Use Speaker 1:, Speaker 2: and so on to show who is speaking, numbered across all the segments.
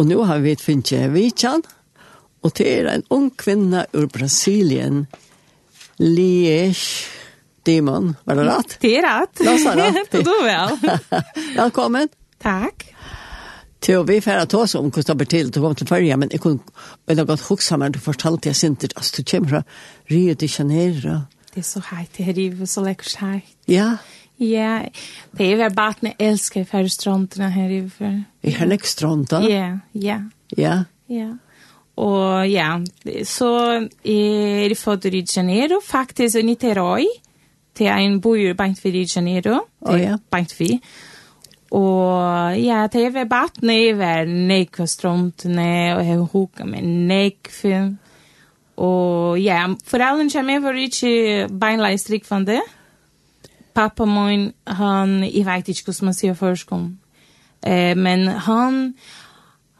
Speaker 1: Og nå har vi finnet Vichan, og det er en ung kvinne ur Brasilien, Liesh Demon, var det rett?
Speaker 2: Det är rätt.
Speaker 1: Ja, så är det.
Speaker 2: Det då väl.
Speaker 1: Velkommen.
Speaker 2: Tack.
Speaker 1: Til og vi færre ta oss om hvordan det ble til, du kom til Førja, men jeg kunne veldig godt huske meg, du fortalte jeg sint, altså du kommer fra Rio de Janeiro.
Speaker 2: Det är så härligt det här livet, så läckert härligt.
Speaker 1: Ja,
Speaker 2: Ja, det är väl bara att ni älskar för stränderna här i för.
Speaker 1: i Hernekstronda.
Speaker 2: Ja, ja,
Speaker 1: Ja,
Speaker 2: ja. Och ja, så är det född i Rio de Janeiro, faktiskt i Niterói. Det är en bojur bankt vid Rio de Janeiro. Det är
Speaker 1: Å, ja.
Speaker 2: Bankt vid. Og ja, det er ved vattnet, jeg var nekk for strømtene, og jeg hukket meg nekk for. Og ja, foreldrene kommer var ikke beinleis strikk for det. Pappa min, han, jeg vet ikke hvordan man sier først om. Eh, men han,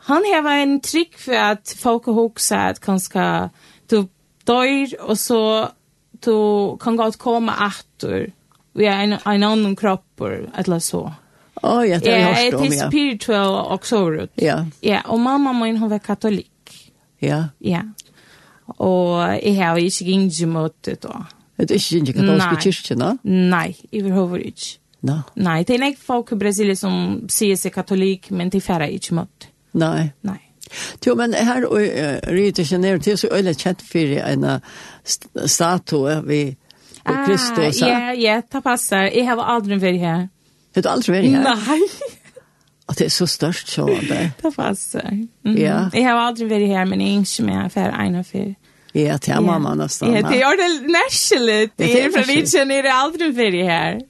Speaker 2: han har en trygg for at folk hukser at kanskje du dør, og så du kan godt komme etter. Vi er en, en annen kropp, eller så. Ja.
Speaker 1: å ja, det har jeg
Speaker 2: Ja,
Speaker 1: hørt
Speaker 2: det
Speaker 1: om,
Speaker 2: är
Speaker 1: ja.
Speaker 2: spiritual också. Ruth.
Speaker 1: Ja,
Speaker 2: Ja, och mamma min hon var katolik.
Speaker 1: ja.
Speaker 2: Ja. Och jag har inte gått i mötet då.
Speaker 1: Det er ikke ikke katolske
Speaker 2: Nei.
Speaker 1: kyrkje, da?
Speaker 2: Nej, överhuvudtaget inte.
Speaker 1: Nei,
Speaker 2: Nej, det är inte folk i Brasilien som säger sig katolik, men de färre inte mött.
Speaker 1: nei.
Speaker 2: Nej.
Speaker 1: Jo, men her og uh, Rio de Janeiro, det er så øyelig kjent for en eh, st- statue ved ved Kristus.
Speaker 2: Ah,
Speaker 1: ja.
Speaker 2: ja, ja, det passar. Jag har aldrig varit här.
Speaker 1: Det er aldri vært her.
Speaker 2: Nej,
Speaker 1: Og det er så størst, så eh, det.
Speaker 2: det passar. Mm.
Speaker 1: Ja.
Speaker 2: Jag har aldrig varit här, men jag är inte med för en och för.
Speaker 1: Ja, er til yeah. mamma nesten. eh.
Speaker 2: Ja, det er- är ordentligt närskilligt.
Speaker 1: Ja, det
Speaker 2: Det
Speaker 1: är
Speaker 2: är från
Speaker 1: närskilligt.
Speaker 2: Ritchen, är det er aldrig varit här.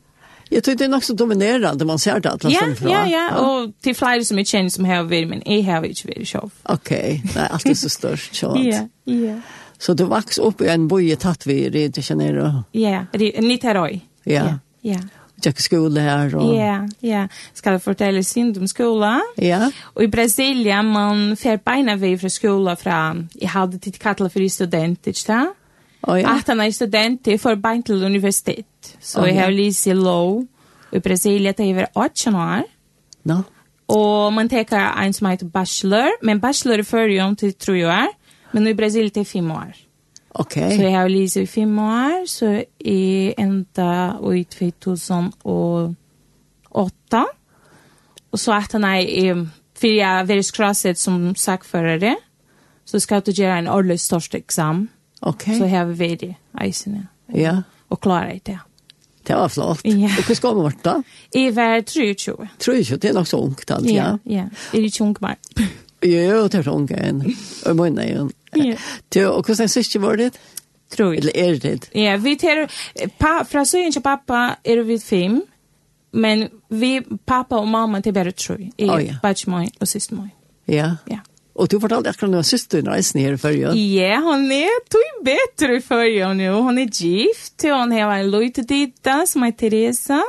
Speaker 1: Jeg tror det er nok så dominerende, man ser det at
Speaker 2: Ja,
Speaker 1: fra.
Speaker 2: ja, ja. Och till flera som är kända som har varit, men jag har inte varit själv.
Speaker 1: Ok, nei, alt er så størst, så.
Speaker 2: Ja, ja.
Speaker 1: Så du vaks opp i en boje tatt vi i Rio de Janeiro.
Speaker 2: Ja, det är Niteroi.
Speaker 1: Ja.
Speaker 2: Ja,
Speaker 1: Tjekk skole her og...
Speaker 2: ja, ja. Ska jag fortälla synd om skolan?
Speaker 1: Ja,
Speaker 2: Och i Brasilien, man får beina väg från skolan från, jag hade till kattla för student, inte det?
Speaker 1: og ja.
Speaker 2: Att han är er student, jag får beina till universitet. Så
Speaker 1: Å,
Speaker 2: jag
Speaker 1: ja.
Speaker 2: har lyst i lov. Och i Brasilien, det är över 18 år.
Speaker 1: Nå,
Speaker 2: Och man tar en som heter bachelor, men bachelor i förrjön till tror jag är. Men i Brasilien det är fem år.
Speaker 1: ok.
Speaker 2: Så jag har läst i fem år, så är ända i 2008. Och så att han er är för jag veriskrasset er som sakförare. Så ska du göra en årlig största exam.
Speaker 1: Ok,
Speaker 2: Så har vi varit i Eisene
Speaker 1: ja.
Speaker 2: och klarat det.
Speaker 1: Det var flott.
Speaker 2: Ja.
Speaker 1: Og hva skal man vært da?
Speaker 2: I var 23.
Speaker 1: Tror jeg ikke, det er nok så ungt alt, ja.
Speaker 2: ja. er Är det tjunk mer?
Speaker 1: Jo, det er så ungt en. Og munnen er jo.
Speaker 2: Ja.
Speaker 1: Du, Og hvordan synes du var det?
Speaker 2: Tror jag.
Speaker 1: Eller er det?
Speaker 2: Ja, vi ter pa fra så inte pappa är vi fem. Men vi pappa och mamma till bara tror jag.
Speaker 1: Å,
Speaker 2: Oh,
Speaker 1: ja.
Speaker 2: ja. Batch mig och syster mig.
Speaker 1: Ja.
Speaker 2: Ja.
Speaker 1: Og du fortalte akkurat noen søster reisen her før, ja.
Speaker 2: Ja, hon er är tog bättre för jag nu. Hon är gift. Hon har en lojt titta som heter Teresa.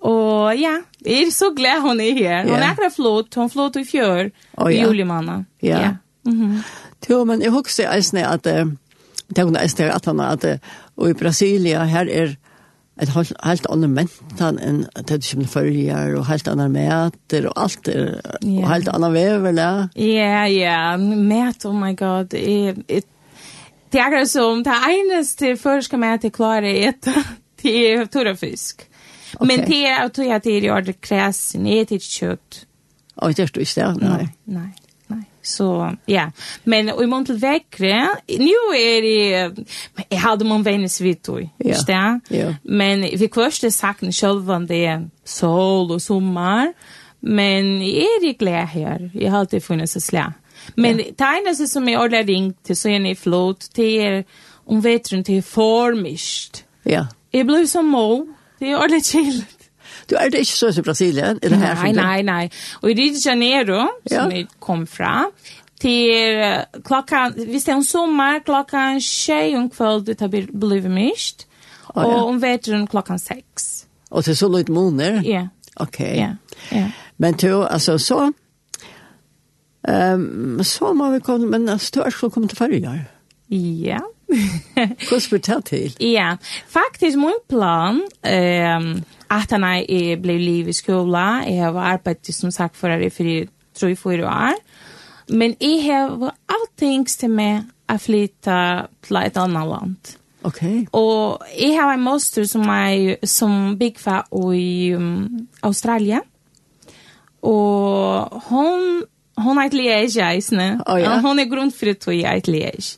Speaker 2: Och ja, jag är så glad hon är här. Hon
Speaker 1: Ja.
Speaker 2: är akkurat flott. Hon er flott i fjör.
Speaker 1: Å,
Speaker 2: i
Speaker 1: ja.
Speaker 2: Julimanna.
Speaker 1: Ja.
Speaker 2: ja. Mhm.
Speaker 1: Jo, men jeg husker eisen at eh, det kunne eisen at han at eh, og i Brasilia her er et helt, helt annet mentan enn det du kommer følger og helt annet meter og alt er og
Speaker 2: Ja.
Speaker 1: helt annet veverle.
Speaker 2: Ja, ja, mät, oh my god. Det är- det är akkurat som, det enaste först ska man äta klara äta, det är torra fisk. Men
Speaker 1: Okej.
Speaker 2: det är att jag till jag det kräs, ni äter inte kött.
Speaker 1: Og det er du ikke det, nei.
Speaker 2: nej, nej. Så, ja. Men i mån till väckre, nu är det, men jag hade man vännes vid då,
Speaker 1: Ja.
Speaker 2: inte det?
Speaker 1: Ja.
Speaker 2: Men vi kvörste sakna själva om det är sol och sommar. Men är det glädje här? Jag har alltid funnits att slä. Men det enda som jag ordentligt ringt till så är ni flot. Det är om vetren till formiskt.
Speaker 1: Ja.
Speaker 2: Jag blev som må. Det är ordentligt chill.
Speaker 1: Du er det ikke så i Brasilien? Er det her,
Speaker 2: Nej, nej, nej. Och i Rio de Janeiro,
Speaker 1: Ja.
Speaker 2: som vi kom från, till eh, klockan, visst är en sommar, klockan tjej om kväll det har bl- blivit mist.
Speaker 1: Ja, ja.
Speaker 2: Och om vetren klockan sex.
Speaker 1: Og til så litt måneder?
Speaker 2: Ja,
Speaker 1: Ok.
Speaker 2: ja, ja.
Speaker 1: Men du, altså så, um, så må vi komme, men altså, du er ikke kommet til følger.
Speaker 2: Ja.
Speaker 1: Hvordan blir det til?
Speaker 2: Ja, faktiskt min plan ehm att han är blev liv i skola. Jag har arbetat som sagt för det för tror jeg for år. Men jeg har alltings til meg å flytte til et annet land.
Speaker 1: Okej.
Speaker 2: Og jeg har en moster som er som byggfa i um, Australia. Og hun, hun er et liege, eisne.
Speaker 1: Å, ja.
Speaker 2: Hun er grunnfri til jeg et liege.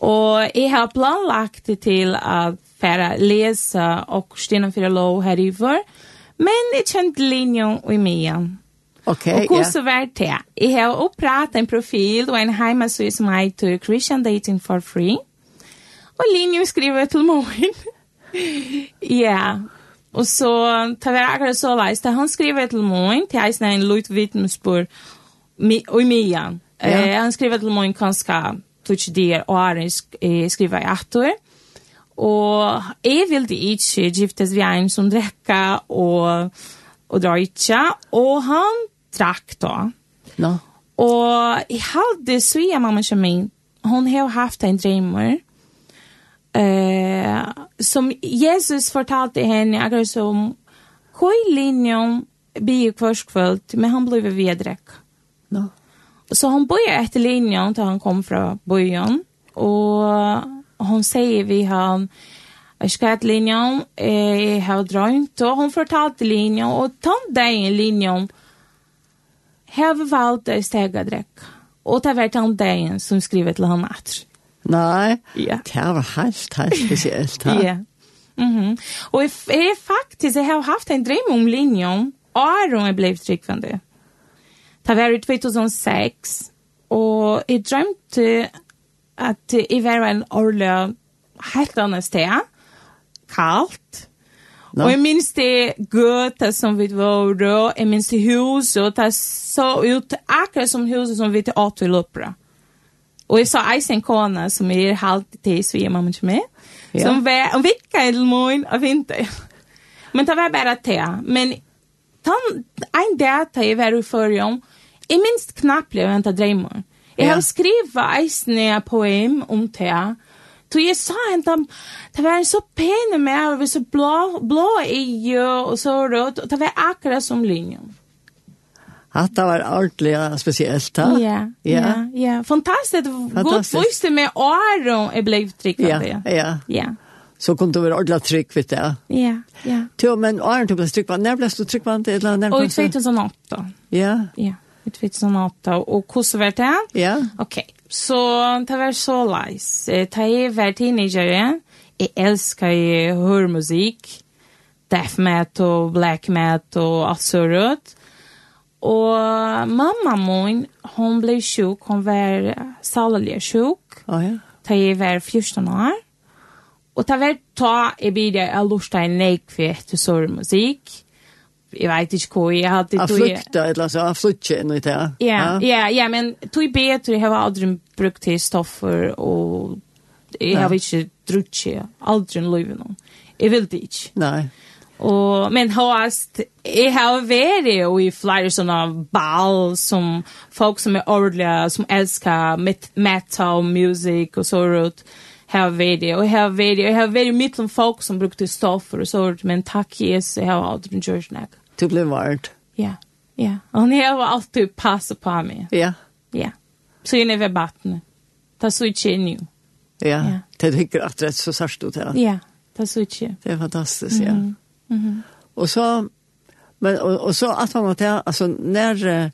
Speaker 2: Og jeg har planlagt det til å fære lese og stene for lov her i vår. Men jeg kjente linjen i mye.
Speaker 1: Okej. ja.
Speaker 2: Og hvordan var det? Jeg har opprettet en profil og en hjemmeside som heter e Christian Dating for Free. e Og linjen skriver til morgen. ja. Og så tar vi akkurat så leis. Da han skriver til morgen, til jeg snakker en Lloyd Wittmesburg og Mian.
Speaker 1: Ja.
Speaker 2: Eh, han skriver til morgen kanskje tutsi der og Arin sk eh, skriver i atter. Og jeg vil det ikke giftes vi en som drekker og, og drar ikke. Og han drakk da.
Speaker 1: Nå.
Speaker 2: Og jeg hadde svia mamma som min. Hon har haft en drömmer. Eh, som Jesus fortalte henne akkurat som Hoi linjen blir kvarskvöld, men han blev vedräck.
Speaker 1: Nå.
Speaker 2: Så hon börjar efter linjen då han kom från början. Och hon säger vid han Jag ska äta linjen, eh, jag har drömt och hon fortalte linjen och den dagen linjen har valt att stega dräck. Och det var den dagen som skriver till honom att
Speaker 1: Nej.
Speaker 2: Ja.
Speaker 1: Det här var helt, helt speciellt.
Speaker 2: Ja.
Speaker 1: Ja.
Speaker 2: Mhm. Och jag, f- jag är faktiskt, jag har haft um en dröm om linjen. Aron är blivit tryggvande. Det var i 2006. Och jag drömde att jag var en orla helt annan sted. Kallt.
Speaker 1: Nå.
Speaker 2: Och jag minns det göta som vi var då. Jag minns det huset. Det såg ut akkurat som huset som vi till Ato i Lopra. Och jag sa Eisen Kona som är halvt till Sverige mamma till mig.
Speaker 1: Ja.
Speaker 2: Som var en vecka eller mån av vinter. Men det var bara te. Men tan, en dag tar jag var i förrjom. Jag minns knappt jag väntar drömmar. Jag
Speaker 1: Ja.
Speaker 2: har skrivit Eisen poem om te. Så jag sa inte, det var en så pen med och så blå, blå i och så rött. Och det var akkurat som linjen.
Speaker 1: Det var ordentligt speciellt. Ja.
Speaker 2: Ja,
Speaker 1: Ja.
Speaker 2: ja, ja. Fantastiskt. Gott
Speaker 1: Fantastiskt.
Speaker 2: voice med Aron är blivit
Speaker 1: Ja.
Speaker 2: tryckande.
Speaker 1: Ja.
Speaker 2: Ja,
Speaker 1: Så kom det vara ordentligt tryck vid det.
Speaker 2: ja, ja.
Speaker 1: Jo, men Arne tog plats tryckvand. När blev du tryckvand? Eller när
Speaker 2: Och i
Speaker 1: blev du-
Speaker 2: 2008.
Speaker 1: Ja.
Speaker 2: Ja, i 2008. Och hur var det?
Speaker 1: Ja.
Speaker 2: Okej, så det var så lajs. Eh, Det är var teenager. Jag älskar ju hörmusik. Death metal, black metal, allt så rött. Och mamma min, hon blev sjuk. Hon var sallelig sjuk. er
Speaker 1: Ja, ja.
Speaker 2: ta jeg var 14 år. Og ta var ta jeg bidde jeg lortet en nekve etter sorgmusikk. Jeg vet ikke hva jeg hadde.
Speaker 1: Jag
Speaker 2: tog jeg-
Speaker 1: flykta, eller så jag flykta in i det.
Speaker 2: er- Ja, ja, ja, men tog bättre jag har aldrig brukt till stoffer och jag har
Speaker 1: Nej.
Speaker 2: inte druckit aldrig löven om. Jag vill det inte.
Speaker 1: Nej.
Speaker 2: Och men hast jag har varit och i flera såna ball som folk som är ordliga som älskar met- metal music och så rot har varit och jag har varit jag har varit mitt bland folk som brukte stoffer och så rot men tack Jesus jag har aldrig gjort något.
Speaker 1: Du blev vart.
Speaker 2: Ja. Ja. Och ni har alltid passat på mig.
Speaker 1: Ja.
Speaker 2: Ja. Så inne vid vattnet. Ta switch in nu.
Speaker 1: Ja.
Speaker 2: Ja.
Speaker 1: Det tycker att rätt så särskilt ut det.
Speaker 2: Ja. Mm-hmm. Ta switch in.
Speaker 1: Det är fantastiskt, ja. Och så men och, och så att man det alltså när eh,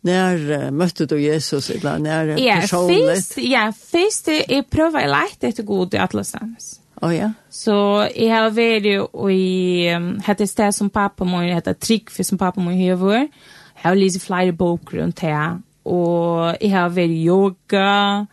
Speaker 1: när eh, mötte du Jesus eller när eh,
Speaker 2: Ja,
Speaker 1: personligt.
Speaker 2: fyrst, ja, fyrst jeg prøver jeg leit etter god i alle sammen.
Speaker 1: Ja, ja.
Speaker 2: Så jeg har vært i um, hette sted som pappa må, hette Tryggve som pappa må høver. Jeg har lyst flere boker rundt her. Og jeg har vært i yoga.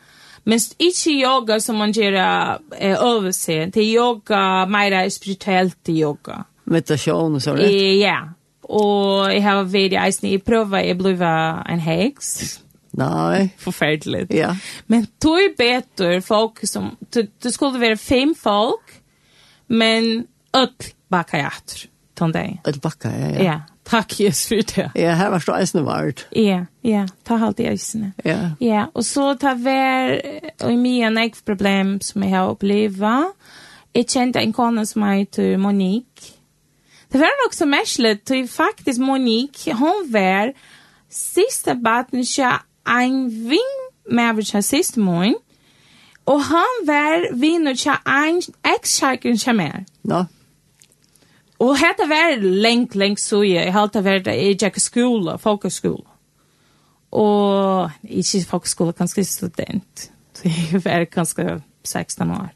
Speaker 2: Men s- ikke yoga som man gjør eh, øvelse. Det er yoga, mer spirituelt yoga.
Speaker 1: Meditation och så
Speaker 2: Eh,
Speaker 1: rätt.
Speaker 2: Ja. Og jeg har vært i eisen. Jeg prøver, jeg blir en heks.
Speaker 1: Nej.
Speaker 2: Forferdelig.
Speaker 1: Ja.
Speaker 2: Men tog är bättre folk som... Det, det skulle vara fem folk, men upp bakar jag efter. Tom dig.
Speaker 1: Ett backa, ja.
Speaker 2: Ja.
Speaker 1: Ja,
Speaker 2: ja, tack Jesus för det.
Speaker 1: ja här var så isen vart.
Speaker 2: Ja, ja, ta allt i ögonen.
Speaker 1: Ja.
Speaker 2: Ja, och så tar vi och i mina nästa problem som jag har upplevt. Jag kände en kvinna som heter Monique. Det var nog så märkligt, för faktiskt Monique, hon var sista baten kja ein ving med kja sist moin, og han var vinner kja ein ex-kjarken kja mer.
Speaker 1: Nå,
Speaker 2: Og hetta var lengt, lengt suje. Jeg halte var det i Jack Skola, folkeskola. Og ikke folkeskola, kanskje student. Så jeg var kanskje 16 år.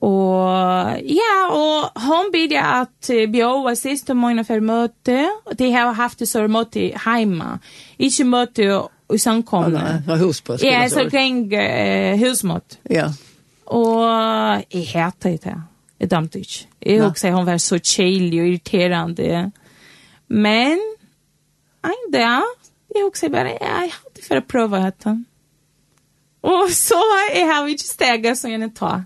Speaker 2: Og ja, og hon bidde at eh, bjóa sist om morgenen for møte. Og de har haft det så møte heima. Ikke møte i samkomne.
Speaker 1: det var hus på. skulle
Speaker 2: Ja,
Speaker 1: jeg
Speaker 2: så
Speaker 1: säga.
Speaker 2: kring uh, husmøte.
Speaker 1: Ja,
Speaker 2: Og jeg hater det. Jeg dømte ikke. Jeg
Speaker 1: Nei.
Speaker 2: husker hun var så kjelig og irriterende. Men en dag, jeg husker bare, jeg hadde for å prøve dette. Og så jeg har ikke steget som jeg ta.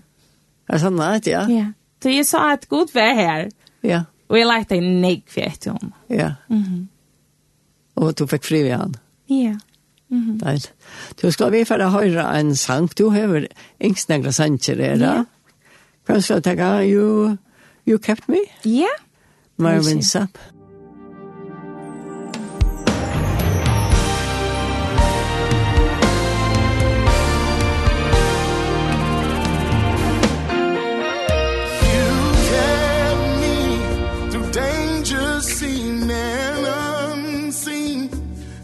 Speaker 1: er sånn at, ja,
Speaker 2: Ja. Så jeg sa at Gud var her.
Speaker 1: ja,
Speaker 2: Og jeg lærte en nek for etter henne.
Speaker 1: ja.
Speaker 2: Mm-hmm.
Speaker 1: Og du fikk fri ved han.
Speaker 2: Ja.
Speaker 1: Deil. Du skal vi for å høre en sang. Du har yngst negra sanger, er det?
Speaker 2: Ja.
Speaker 1: Hvem skal jeg tenke? You, you kept me?
Speaker 2: Ja.
Speaker 1: Marvin
Speaker 2: Lucy.
Speaker 1: Sapp.
Speaker 3: You carried me through danger seen and unseen,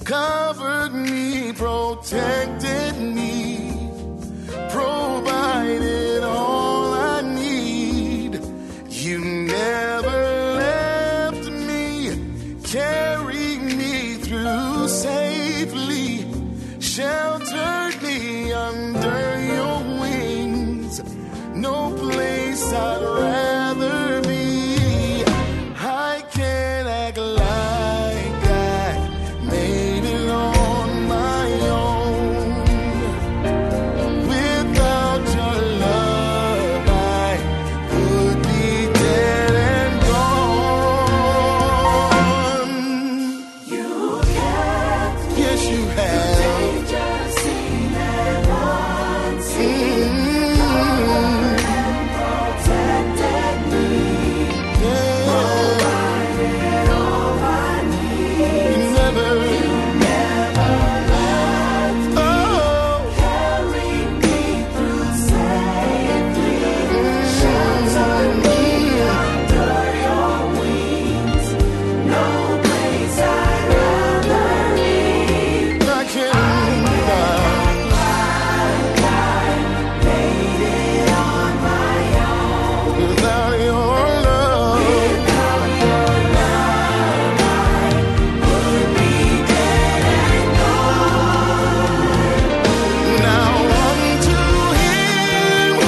Speaker 3: covered me, protected me, provided all I need. You never left me, carried me through safely, sheltered me under your wings. No place I'd rather be. I can't act like I made it on my own. Without your love, I would be dead and gone. Yes, you have. Mm. Yeah. You never, oh, I can't deny. Without your love, Now unto Him who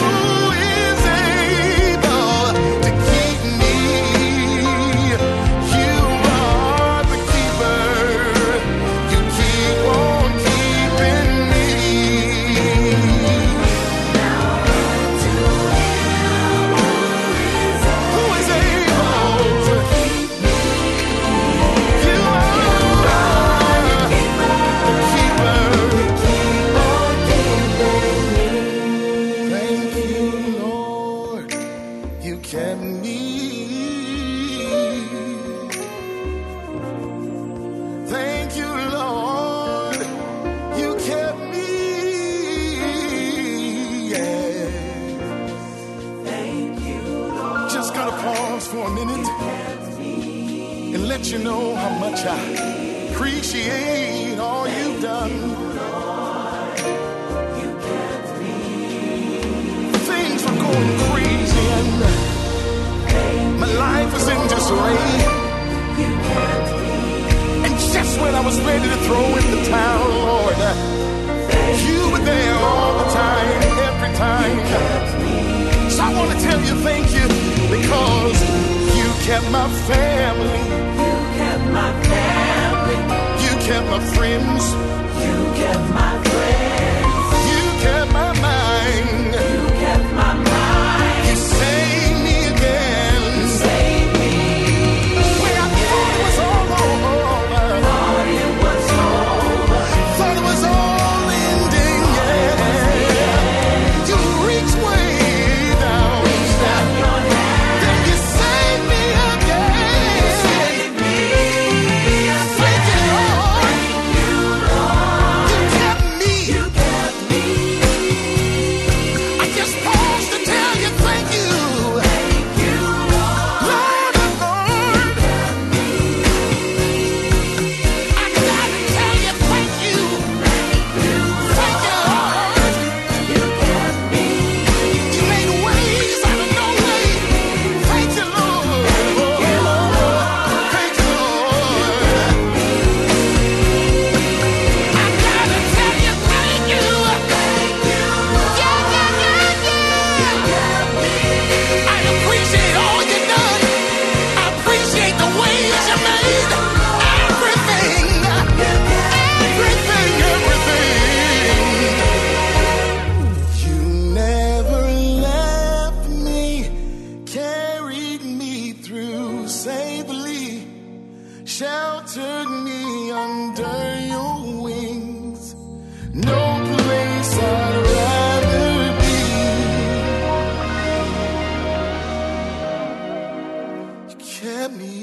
Speaker 3: is able to keep me, You are the keeper. You keep on keeping me. Who is able to keep me? You are the keeper. Keep on keeping me. Thank you, Lord. You kept me. Thank you, Lord. You kept me. Yeah. Just gotta pause for a minute and let you know how much I appreciate all you've done. Things were going crazy and my life was in disarray. And just when I was ready to throw in the towel, Lord, you were there all the time, every time. So I want to tell you thank you because you kept my family. You kept my family. You kept my friends. You kept my friends. You kept my mind. You kept my mind. You saved me again. You saved me. When I thought it was all over. Thought it was over. Thought it was all ending. Yeah. You reach way down. Then you save me again. Thank you, Lord. No place I'd rather be You kept me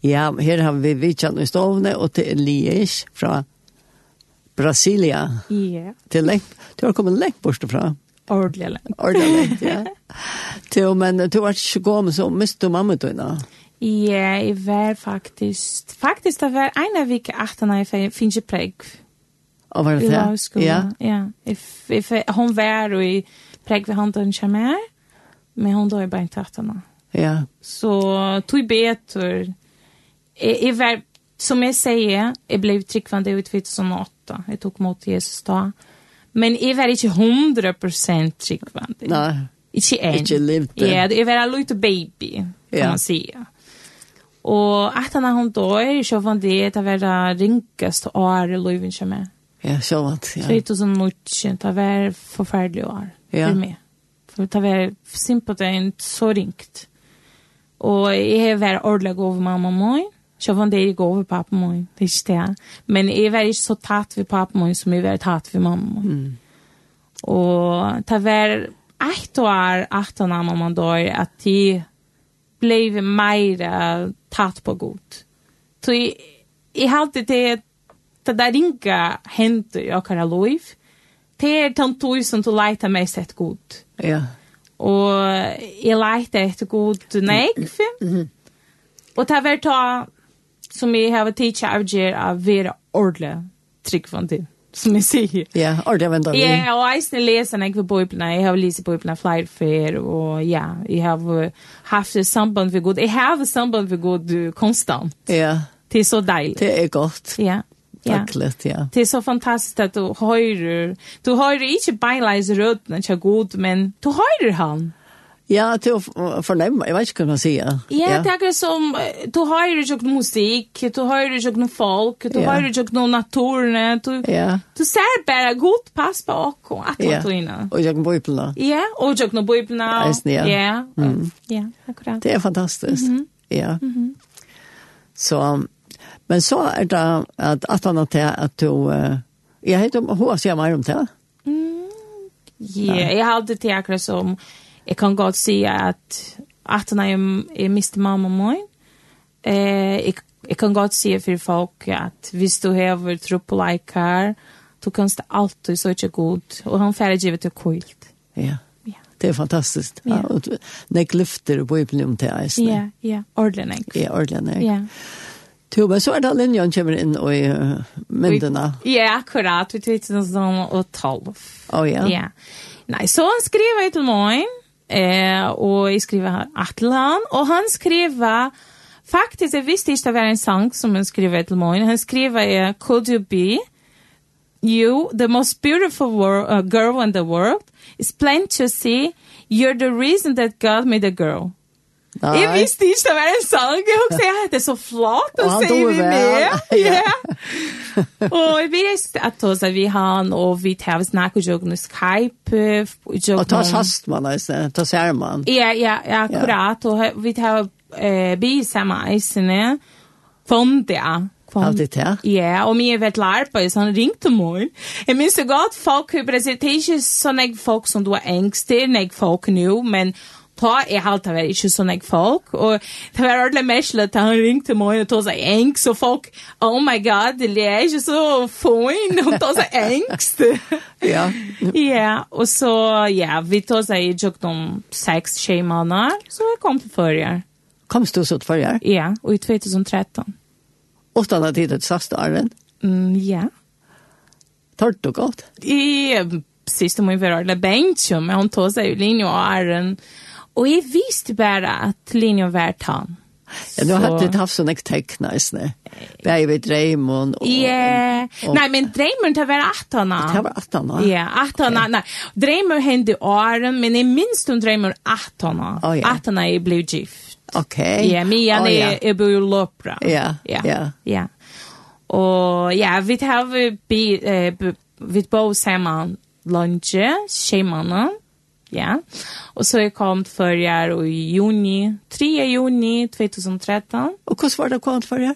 Speaker 1: Ja, her har vi Vichan i stovne og til Elias fra Brasilia.
Speaker 2: Ja,
Speaker 1: Til lengt, du har kommet lengt bort fra.
Speaker 2: ordentlig lenge.
Speaker 1: Ordentlig lengt, ja. Til, men eh, du har ikke kommet så mist du mamma du nå.
Speaker 2: Ja, jeg var faktisk, faktisk det var en av vike 18 når jeg finnes ikke preg
Speaker 1: Og var
Speaker 2: i
Speaker 1: det det?
Speaker 2: lavskolen.
Speaker 1: Ja.
Speaker 2: ja. Jeg, jeg, hun var i preg ved hånden kommer her, men hun døde bare ikke 18 år.
Speaker 1: Ja.
Speaker 2: Så tog betur. Jeg, jeg var, som jeg sier, jeg ble tryggvande ut 2008. Jeg tok mot Jesus da. Men jeg var ikke 100% tryggvande.
Speaker 1: Nei.
Speaker 2: Ikke en.
Speaker 1: Ikke levd det.
Speaker 2: Ja, det är väl lite baby, kan
Speaker 1: Ja.
Speaker 2: man säga. Och att när hon dör så var det att vara rinkast år i livet som är.
Speaker 1: Ja, så vant. Ja.
Speaker 2: 2019, det var förfärliga år
Speaker 1: Ja.
Speaker 2: för mig. För det var simpelt inte så rinkt. Och jag var ordentlig över mamma och mig. Så var det jag går över pappa och mig, det är inte det. Men jag var inte så tatt vid pappa och mig som jag var tatt vid mamma och mig.
Speaker 1: Mm.
Speaker 2: Og det var ett år att när mamma dör att de blev mer tatt på god. Så jag, jag hade det det där inga händer jag kan liv. Det er är tant tusen till leta mig sett god.
Speaker 1: Ja.
Speaker 2: Och jag leta efter god nekv. Och det var ta som jag har teacher av ger av vera ordle tryggvande som jag säger.
Speaker 1: Ja, ordentlig vant.
Speaker 2: Ja, og eisne lesa nek for bøyplene. Jeg har lese bøyplene flere fyr, og ja, jeg har eh, haft et samband for god. Jeg har et samband for god eh, konstant.
Speaker 1: Ja,
Speaker 2: Det er så deilig.
Speaker 1: det er godt.
Speaker 2: Ja, ja.
Speaker 1: Takklet, ja.
Speaker 2: Det er så fantastisk at du høyrer. Du høyrer ikke beinleis rødene til god, men du høyrer han.
Speaker 1: Ja, til å f- fornemme, jeg vet ikke hva man sier.
Speaker 2: Ja, det er akkurat som eh, du høyrer ikke noe musikk, du høyrer ikke noe folk, du
Speaker 1: Ja.
Speaker 2: høyrer ikke noe naturene, du,
Speaker 1: Ja.
Speaker 2: du ser bare god pass på oss, at
Speaker 1: Ja.
Speaker 2: du innan.
Speaker 1: Og jeg kan bo i planen.
Speaker 2: Ja, og jeg nå bøypen av.
Speaker 1: Eisen, ja. Mm.
Speaker 2: Ja, ja, akkurat.
Speaker 1: Det er fantastisk.
Speaker 2: Mhm.
Speaker 1: Ja. Så men så er det at at han at at du eh, jeg heter hva sier meg om det.
Speaker 2: Ja, jeg hadde til akkurat som, jeg kan godt si at at når jeg, jeg miste mamma og min, eh, jeg, jeg kan godt si for folk at hvis du hever tro på leikar, du kan stå alltid så ikke god, og han færre givet til kult.
Speaker 1: Ja.
Speaker 2: Ja.
Speaker 1: Det er fantastisk. Ja,
Speaker 2: Ja.
Speaker 1: og du- nek lyfter på ibland om det eisen.
Speaker 2: Ja, ja, ordentlig. ikke?
Speaker 1: Ja, ordentlig. nek.
Speaker 2: Ja.
Speaker 1: Jo, men så er det linjen kommer inn og i eh, myndene.
Speaker 2: Ja, akkurat, vi tvittet noe sånn og tolv.
Speaker 1: Å ja.
Speaker 2: Ja. Nei, så han skrev til meg, eh, og jeg skrev til han, og han skrev, faktisk, jeg visste ikke det var en sang som han skrev til meg, han skrev, eh, Could you be you, the most beautiful wor- uh, girl in the world? It's plain to see, you're the reason that God made a girl.
Speaker 1: Nei.
Speaker 2: Jeg visste ikke det var en sang. Jeg husker jeg hette så flott å
Speaker 1: Og han
Speaker 2: si
Speaker 1: dog
Speaker 2: vi
Speaker 1: vel.
Speaker 2: med.
Speaker 1: Ja.
Speaker 2: Ja. Og vi visste at oss at vi han, og vi tar snakk og joggen og Skype. eh,
Speaker 1: Og ta sast man eisen, ta ser man.
Speaker 2: Ja, ja, ja, akkurat. Og vi tar eh, bi sammen eisene. Fondia.
Speaker 1: Alltid det.
Speaker 2: Ja, og er mye vet larpa, så han ringte meg. Jeg minns så godt folk hur presenterer sånne folk som du er engster, nek folk nå, men ta er halt det var ikke sånne folk, og det var ordentlig merselig at han ringte meg og tog seg engst, og folk, oh my god, det er ikke så fin, og tog seg engst.
Speaker 1: Ja.
Speaker 2: Ja, og så, ja, vi tog seg i tjokt om seks tjej måneder, så jeg kom til førre.
Speaker 1: Komst du så til forrige?
Speaker 2: Ja, og i 2013.
Speaker 1: Åttan av tiden til sast arven.
Speaker 2: Mm, ja.
Speaker 1: Tart du godt?
Speaker 2: i sista må ju vara la bencho men hon tog sig ju linje och Aron och jag visste bara att linje var han.
Speaker 1: Ja, nu har
Speaker 2: Så-
Speaker 1: det haft sån teckna isne. Vi vid Raymond och
Speaker 2: Ja,
Speaker 1: och-
Speaker 2: nej men drömmen det var att han.
Speaker 1: Det var att han, va?
Speaker 2: Ja, att han, nej. Drömmen hände i Aron men i minst om drömmen att han.
Speaker 1: Å, ja.
Speaker 2: Att han är blivit gift.
Speaker 1: Okej.
Speaker 2: Ja, Mian
Speaker 1: Å, Eh, oh, ja.
Speaker 2: är är bor ju i Lopra.
Speaker 1: Ja, ja.
Speaker 2: ja. Ja. Og ja, vi tar vi bi, eh, b- vi bo saman lunge, skjemanen. Ja. Og så jeg kom til førjar og i juni, 3. juni 2013.
Speaker 1: Og hvordan var det er? kvant for her?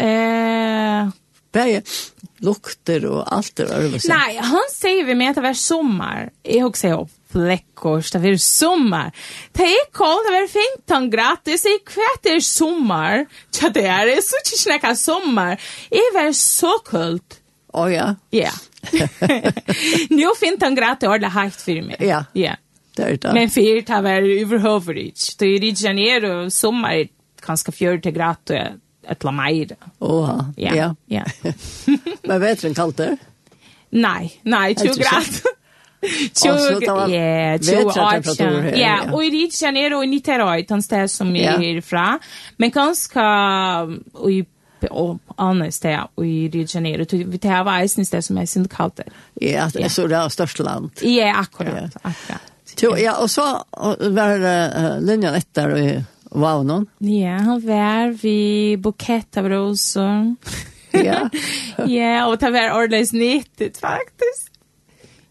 Speaker 2: Eh,
Speaker 1: Bæge lukter og alt er ærvis.
Speaker 2: nej, han säger vi med att det var sommar. Jag också säger, fläckors, det var sommar. Det är kallt, det var fint, han gratis. Jag kvätt är sommar. er Ja, det är det. Så inte snacka sommar. Det var så kallt.
Speaker 1: Å ja,
Speaker 2: Ja. Nu fint han gratis ordla hajt för mig.
Speaker 1: Ja.
Speaker 2: Ja.
Speaker 1: det er det.
Speaker 2: Men för det var överhuvudrigt. Det är i Janeiro sommar ganska fjörde gratis ett la maj. då.
Speaker 1: Åha,
Speaker 2: Ja.
Speaker 1: ja.
Speaker 2: Ja.
Speaker 1: Men vetren kallt det?
Speaker 2: Nej, nej, 20
Speaker 1: Inte så.
Speaker 2: grad.
Speaker 1: så det var
Speaker 2: 20, ja, 20
Speaker 1: vetrartemperaturer här,
Speaker 2: år Ja,
Speaker 1: ja.
Speaker 2: och i Rio de Janeiro och i Niterói, den stället som jag
Speaker 1: Ja.
Speaker 2: är ifrån. Men ganska, och i och annat ställe och i Rio de Janeiro. Så Vi tar var eisen ställe som är sin kallt där.
Speaker 1: Ja, det
Speaker 2: Ja.
Speaker 1: er så det er størst land.
Speaker 2: Ja,
Speaker 1: Ja.
Speaker 2: akkurat, akkurat.
Speaker 1: Jo, ja, og så og var uh, linjen etter i Vavnon.
Speaker 2: Ja, han var vid bukett av rosor.
Speaker 1: Ja.
Speaker 2: Ja, och det var ordentligt nyttigt faktiskt.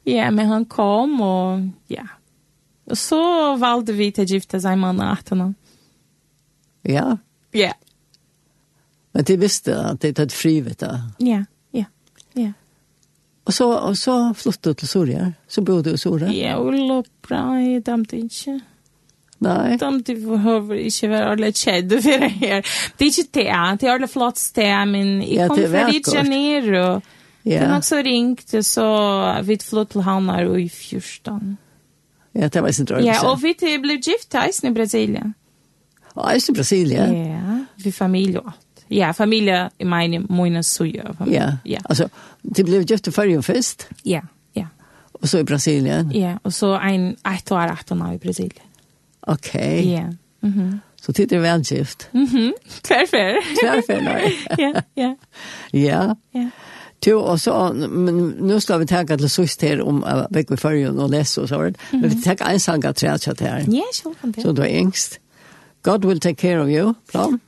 Speaker 2: Ja, men han kom och ja. Och så valde vi att gifta sig med Anna Atana.
Speaker 1: ja.
Speaker 2: Ja,
Speaker 1: Men de visste at de tatt frivet da.
Speaker 2: ja, ja. Ja.
Speaker 1: Og så, og så flyttet du til Soria. Så bodde du i Soria.
Speaker 2: Ja, och loppra i damte inte.
Speaker 1: Nei.
Speaker 2: Damte behöver inte vara ordentligt kedd för det här. Det är inte det, det är ordentligt flott steg, men
Speaker 1: Ja,
Speaker 2: jag kom
Speaker 1: det är
Speaker 2: från Rio
Speaker 1: vackert.
Speaker 2: de Janeiro. Ja. Den
Speaker 1: Ja.
Speaker 2: också ringt så vi flott till Hanar i 14.
Speaker 1: ja, det var i sin drøm.
Speaker 2: Ja, och vi till blev gifta i Brasilien.
Speaker 1: Og jeg er i Brasilia.
Speaker 2: Ja, vi familj och allt. Ja, familj i min mina suja.
Speaker 1: Ja.
Speaker 2: Ja,
Speaker 1: Altså, de ble gjort til Førjen først,
Speaker 2: ja, ja.
Speaker 1: og så i Brasilien.
Speaker 2: Ja, och så en ett år att han i Brasilien.
Speaker 1: Ok.
Speaker 2: Ja. Mhm.
Speaker 1: Så tid er velgift.
Speaker 2: Mhm. Tvärfär.
Speaker 1: Tvärfär,
Speaker 2: Ja, ja,
Speaker 1: Ja.
Speaker 2: ja.
Speaker 1: Jo, og så, men nå skal vi tenke til sist her om uh, vekk i Førjen og lese og så. videre. Men vi tenker en sang av tre kjatt her.
Speaker 2: Mhm. Ja, så kan det.
Speaker 1: Så du er engst. God will take care of you, plan.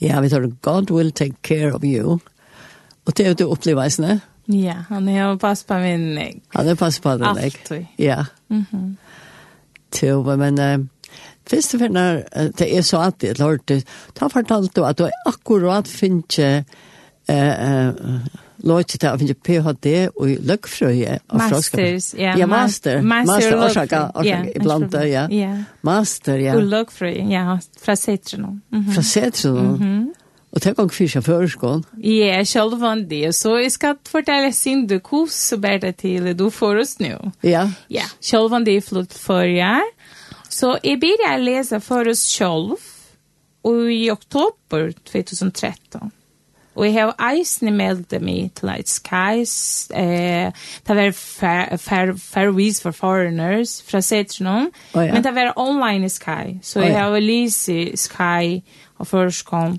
Speaker 1: Ja, vi tar God will take care of you. Og det er jo det opplevelsen.
Speaker 2: Ja, han har pass på min nek.
Speaker 1: Han er pass på den,
Speaker 2: Alltid.
Speaker 1: ikke? Ja. Mm
Speaker 2: Mhm.
Speaker 1: -hmm. men uh, først og fremst, uh, det er så alltid, jeg lærte, da fortalte du at du akkurat finnes uh, uh, låter til å finne PhD og i løkfrøye. av
Speaker 2: Masters,
Speaker 1: froskene.
Speaker 2: ja.
Speaker 1: Ja,
Speaker 2: ma-
Speaker 1: master.
Speaker 2: Master,
Speaker 1: Master,
Speaker 2: og
Speaker 1: orsaka,
Speaker 2: løgfri.
Speaker 1: orsaka, iblant,
Speaker 2: master-
Speaker 1: ja.
Speaker 2: Ja, Mhm.
Speaker 1: Master, ja.
Speaker 2: og løgfri, ja, fra Setrenon. Mhm.
Speaker 1: Fra Setsen. Og tenk om fyrt sjåførskån.
Speaker 2: Ja, selv om det. Så jeg skal fortelle sin du kos, så bär det till du får oss nu.
Speaker 1: Ja.
Speaker 2: Ja, selv om det är flott för er. Så jag började läsa för oss själv och i oktober 2013. Och jag har eisen meldt mig till Light Skies. Eh, det var fair, fair, Fairways for Foreigners fra Setrenom.
Speaker 1: Å ja.
Speaker 2: Men det var online i Sky. Så
Speaker 1: Å
Speaker 2: jag
Speaker 1: ja.
Speaker 2: har läst i Sky och först kom.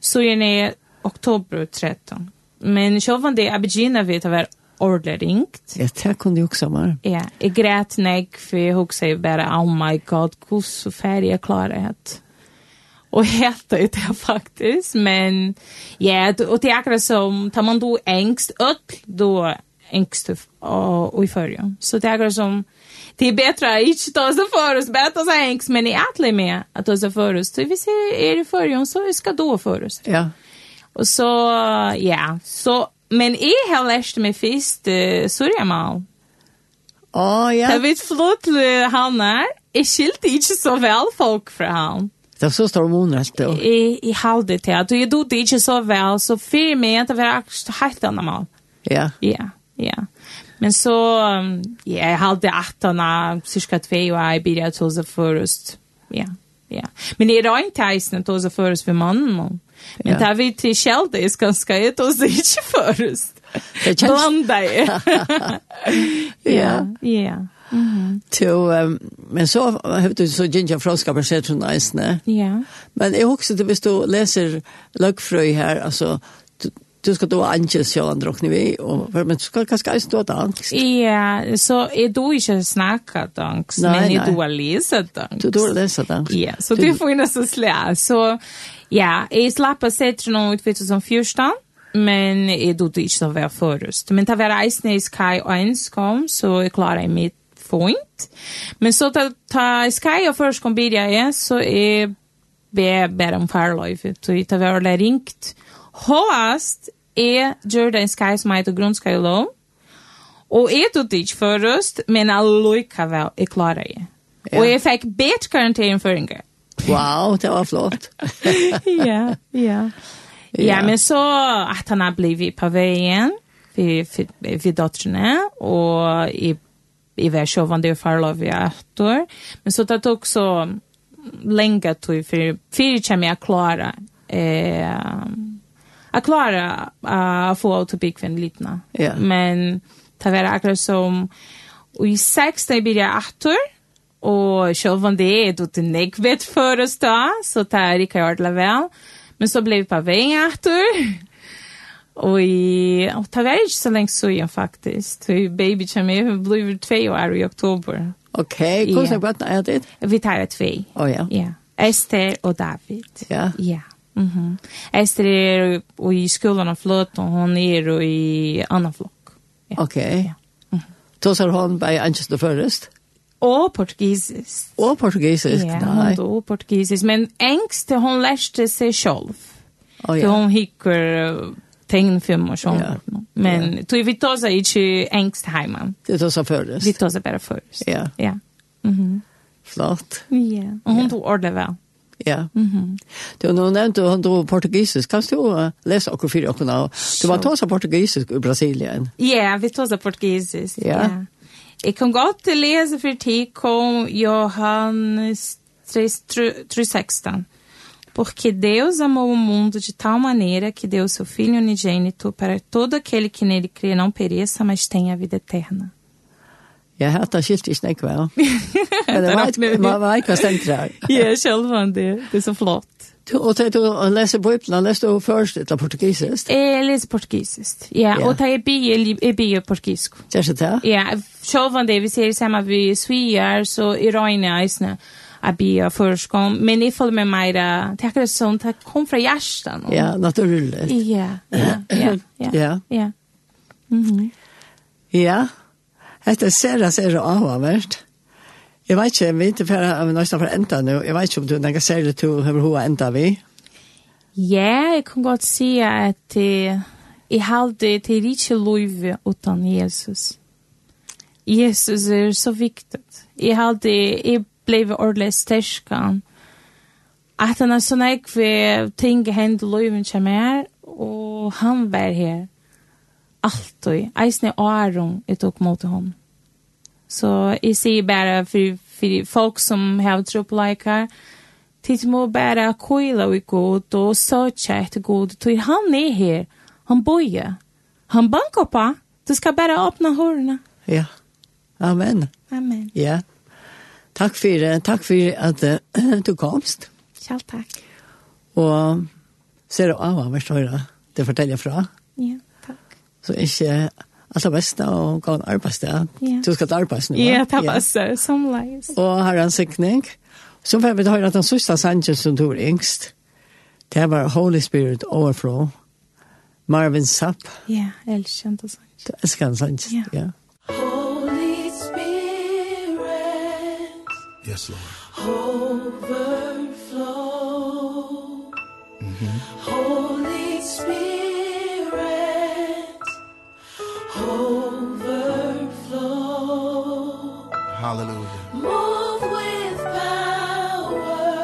Speaker 2: Så jag är er oktober 13. Men själv om det jag begynner vid att vara ordentligt ringt.
Speaker 1: Ja, det kunne jeg også mer.
Speaker 2: Ja, jeg græt nek, for jeg husker jeg bare, oh my god, hvordan ferdig jeg klarer det. Og helt ut det faktisk, men ja, d- og det er akkurat som, tar man då engst, ødel, då engst og i førje. Så det er akkurat som, det er bedre å ikke ta seg for oss, bare ta seg engst, men jeg atler med at ta seg for oss. Så hvis jeg er i førje, så jeg skal då for oss.
Speaker 1: Ja.
Speaker 2: Och så, ja, så, men jeg har lært meg først uh, surjamal.
Speaker 1: Å, ja.
Speaker 2: Jag vet flott eh, han är. Jag skilte inte så väl folk från han.
Speaker 1: Det er så stor måneder alt det.
Speaker 2: I, i halde till att jag gjorde inte så väl så för mig att det var helt annan mal.
Speaker 1: Ja.
Speaker 2: Ja, ja. Men så, um, ja, jag hade attarna cirka två och jag började ta sig förrest. Ja, ja. Men det är inte tajsen att ta sig förrest för mannen. Men
Speaker 1: Ja.
Speaker 2: det här vi till kälde är ganska jag tar sig inte förrest.
Speaker 1: Det känns-
Speaker 2: Blanda er.
Speaker 1: Ja.
Speaker 2: ja,
Speaker 1: Så, ehm, men så har du så ginger froska på sett från isne.
Speaker 2: ja.
Speaker 1: Men jag också det visst du läser lökfrö här alltså du, du ska då anges jag andra och ni vi och men du ska kanske inte stå där.
Speaker 2: Ja, så är du inte snacka dansk,
Speaker 1: Nej,
Speaker 2: men är
Speaker 1: nej.
Speaker 2: du har läsa dansk.
Speaker 1: Du då läser där.
Speaker 2: Ja, så det får ju nästan slä. Så ja, jag slapp sett någon ut 2014, men jag då det inte så väl förrest. Men det var isen i Sky och ens kom, så jag klarade mitt fint. Men så ta, ta Sky och först kom bidja jag, så jag ber ber om farlöjf. Så jag tar väl ringt. Håast är Jordan Sky som heter Grundskylov. Og jeg tog det ikke først, men allikevel, jeg klarer det.
Speaker 1: Ja.
Speaker 2: Og jeg fikk bedre karakteren for en gang.
Speaker 1: Wow, det var flott.
Speaker 2: ja, ja. Ja, men så at han har blivit på vägen vid, vid, vid dotterna och i, i värsjovande och farlov i ett år. Men så det tog så länge tog för fyra kommer jag klara eh, att klara eh, att få autobikven liten.
Speaker 1: Ja.
Speaker 2: Men det var akkurat som och i sex där blir jag ett år Og selv om det er det en jeg vet for oss da, så tar jeg ikke ordentlig vel. Men så ble vi på veien etter. Og, i, og det var ikke så lenge siden faktisk. Så baby kommer, hun blir tve år i oktober.
Speaker 1: Okej, okay, kosa
Speaker 2: Ja.
Speaker 1: på att jag det.
Speaker 2: Vi tar et tve.
Speaker 1: Å ja.
Speaker 2: Ja. Esther og David.
Speaker 1: Ja.
Speaker 2: Ja. Mm Esther er og i skolan av fløt, og hun er og i annen flokk. Ja.
Speaker 1: Okej.
Speaker 2: Mhm.
Speaker 1: Då så har hon by anges the first.
Speaker 2: Og portugisisk.
Speaker 1: Och portugisisk.
Speaker 2: Ja, hon
Speaker 1: Nej.
Speaker 2: då portugisisk. Men engst, hon lärste sig själv.
Speaker 1: Oh,
Speaker 2: För
Speaker 1: ja.
Speaker 2: hon hickar eh, tegnfilm och sånt.
Speaker 1: Ja.
Speaker 2: Men ja. vi tar sig inte engst hemma.
Speaker 1: Det tar så
Speaker 2: Vi
Speaker 1: förrest.
Speaker 2: tar sig bara först.
Speaker 1: Ja.
Speaker 2: Ja.
Speaker 1: Flott.
Speaker 2: ja. Och hon tog ordentligt väl.
Speaker 1: Ja. Mhm. Du nu nämnde hon då portugisisk. Kan du eh, läsa och fyra och nå? Du var tåsa portugisisk i Brasilien.
Speaker 2: Ja, vi tar sig portugisisk.
Speaker 1: Ja.
Speaker 2: Jag kan gott läsa för Tico Johannes 3.16. Porque Deus amou o mundo de tal maneira que deu seu Filho unigênito para que todo aquele que nele crê não pereça, mas tenha a vida eterna.
Speaker 1: Jag hade skilt i snäck väl. Men det er
Speaker 2: rätt nu.
Speaker 1: var man var inte stängt där.
Speaker 2: Ja, själv han det. Det är så flott.
Speaker 1: Och det du läser på Bibeln, läste du först ett portugisiskt.
Speaker 2: Jag läser portugisiskt. Ja,
Speaker 1: Ja.
Speaker 2: och det är bio, är bio portugisisk.
Speaker 1: Det är så där.
Speaker 2: Ja, själv om det vi ser samma vi sviar så i Rojne eisne. att be förskom. Men i fall med Maira, det är sånt att kom från hjärtan. och-
Speaker 1: Ja, naturligt.
Speaker 2: Ja, ja, ja, ja,
Speaker 1: Ja.
Speaker 2: ja. Mhm.
Speaker 1: Ja. Hetta er sera sera avvært. Jeg vet ikke, vi er ikke ferdig av nøysten for enda nå. Jeg vet ikke om du tenker særlig til over hva enda vi.
Speaker 2: Ja, jeg kan godt si at eh, jeg halde til ikke lov utan Jesus. Jesus er så viktig. Jeg halde, jeg ble ordentlig sterskan. At han er sånn jeg vil ting hende loven kommer her, og han var her. Altid. Eisen er åren jeg tok mot ham. Så jeg sier bare for, for folk som har tro på leikar, Tid må bara koila i god og søtja etter god. Tog han er her. Han bojer. Han bankar på. Du skal bara åpna hårene.
Speaker 1: Ja. Amen.
Speaker 2: Amen.
Speaker 1: Ja. Takk for det. Takk for at eh, du komst.
Speaker 2: Kjall takk.
Speaker 1: Og ser du av hva høyre det forteller fra.
Speaker 2: Ja, takk.
Speaker 1: Så ikke alt det beste og gå en arbeidssted.
Speaker 2: Ja.
Speaker 1: Du skal til arbeids nå. va?
Speaker 2: Ja, takk altså. Som leis.
Speaker 1: Og har han sikning. Så får vi høre at den sørste sangen som du er yngst, det var Holy Spirit Overflow. Marvin Sapp,
Speaker 2: Ja, elskjent og sånt.
Speaker 1: du elsker han sangen.
Speaker 2: Ja.
Speaker 1: ja.
Speaker 4: Holy Spirit,
Speaker 3: Yes, Lord.
Speaker 4: overflow. Holy Spirit, overflow.
Speaker 3: Hallelujah.
Speaker 4: Move with power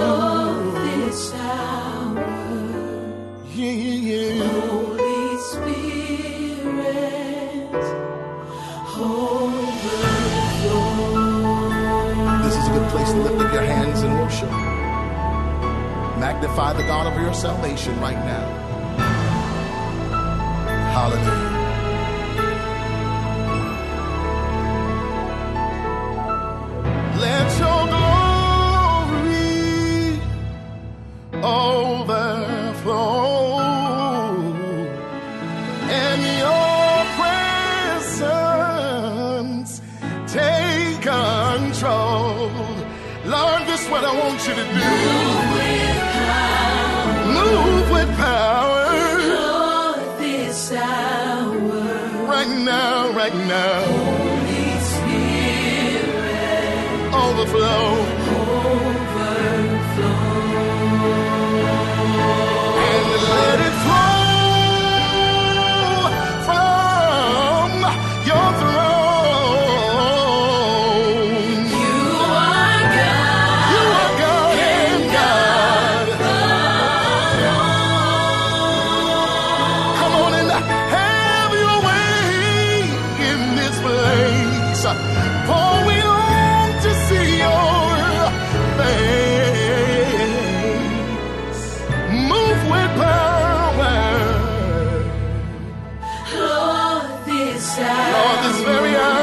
Speaker 4: of this hour.
Speaker 3: Yeah, yeah, yeah.
Speaker 4: Holy Spirit,
Speaker 3: This is a good place to lift up your hands and worship. Magnify the God of your salvation right now. Hallelujah. Let your glory overflow and your presence take control. Lord, this is what I want you to do. Move with power.
Speaker 4: of this hour.
Speaker 3: Right now, right now.
Speaker 4: Holy Spirit,
Speaker 3: Overflow. And let it flow from your throne.
Speaker 4: you are God.
Speaker 3: You are God and God. Come on and have your way in this place. For we long to see your face. Move with power.
Speaker 4: Lord, this hour.
Speaker 3: Lord, this very hour.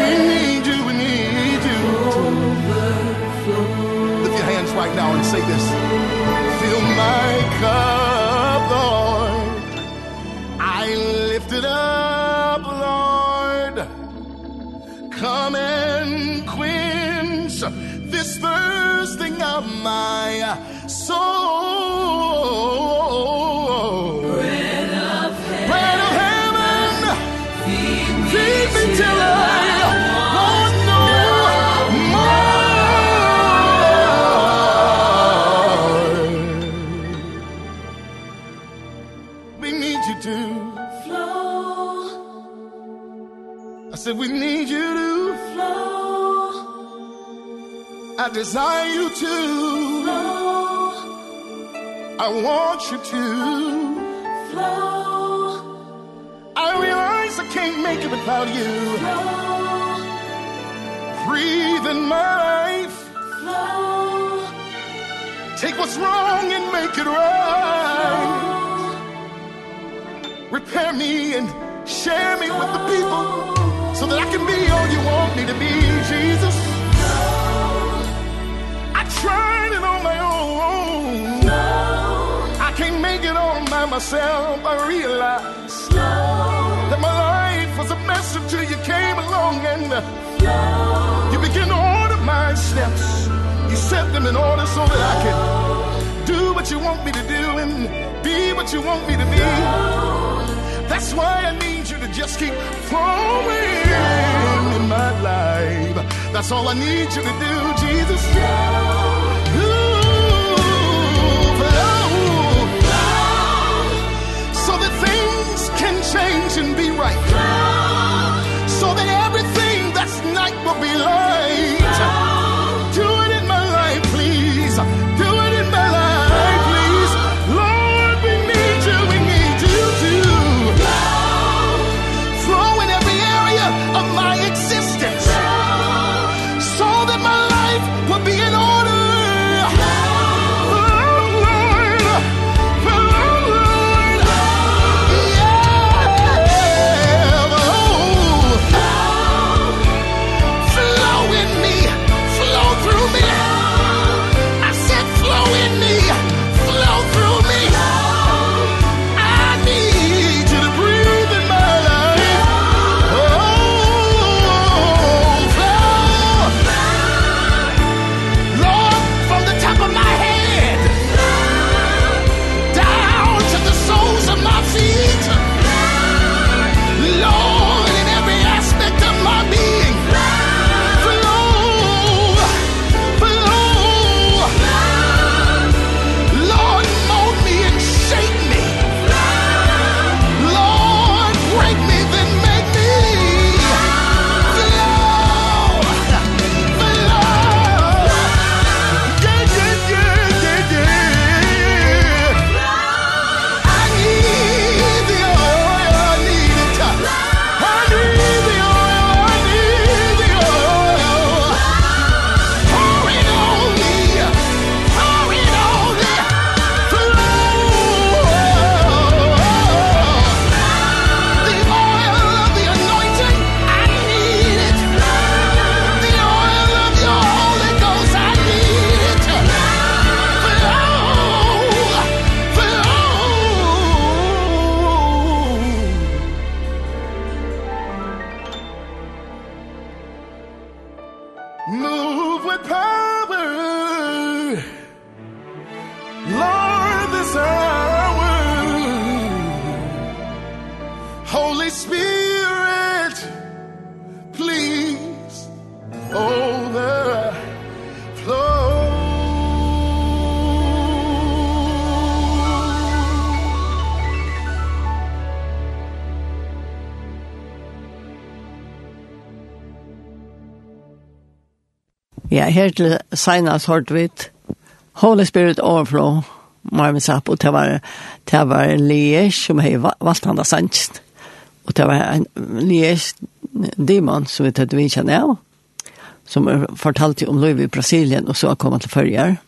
Speaker 3: We need you, we need you. Lift your hands right now and say this. Fill my cup, Lord. I lift it up, Lord. Come and quench this thirsting of my soul. Bread of heaven, feed me till I want no more. We need you to.
Speaker 4: Flow,
Speaker 3: I said we need you to.
Speaker 4: flow,
Speaker 3: I desire you to.
Speaker 4: flow,
Speaker 3: I want you to.
Speaker 4: flow,
Speaker 3: I realize I can't make it without you.
Speaker 4: flow,
Speaker 3: Breathe in my life.
Speaker 4: flow.
Speaker 3: Take what's wrong and make it right. Repair me and share me with the people so that I can be all you want me to be, Jesus. I tried it on my own. I can't make it all by myself. I realize that my life was a message till you came along and you began to order my steps. You set them in order so that I could do what you want me to do and be what you want me to be. That's why I need you to just keep flowing in my life. That's all I need you to do, Jesus. Ooh, flow so that things can change and be right. So that everything that's night will be light. Do it in my life, please. Do it in my life, please. Lord, we need you, we need you to flow in every area of my existence. So that my life will be in order. Flow, Lord. Flow, Lord. Yeah. Flow. Flow in me. Flow through me. I said flow in me. Flow through me. I need you to breathe in my life. Oh, flow. Lord, from the top of my head down to the soles of my feet. Lord, in every aspect of my being. Flow, flow. Lord, mold me and shape me. Lord, break me, then make me. Flow, flow. Yeah, yeah, yeah, yeah, yeah. I need the oil, I need it. I need the oil, I need the oil. Pour it on me, pour it on me. Flow. The oil of the anointing, I need it. The oil of your Holy Ghost, I need it. Flow, flow. Move with power Lord this hour Holy Spirit Please Overflow
Speaker 1: Ja, her til senast hørte vi et Holy Spirit overflow Marvin Sapp, og det var, det var Liege som hei va- valgt han da sannsyn. Og det var en Liege demon som vi tatt vi kjenner av, som er- fortalte om liv i Brasilien, og så kom han til følger.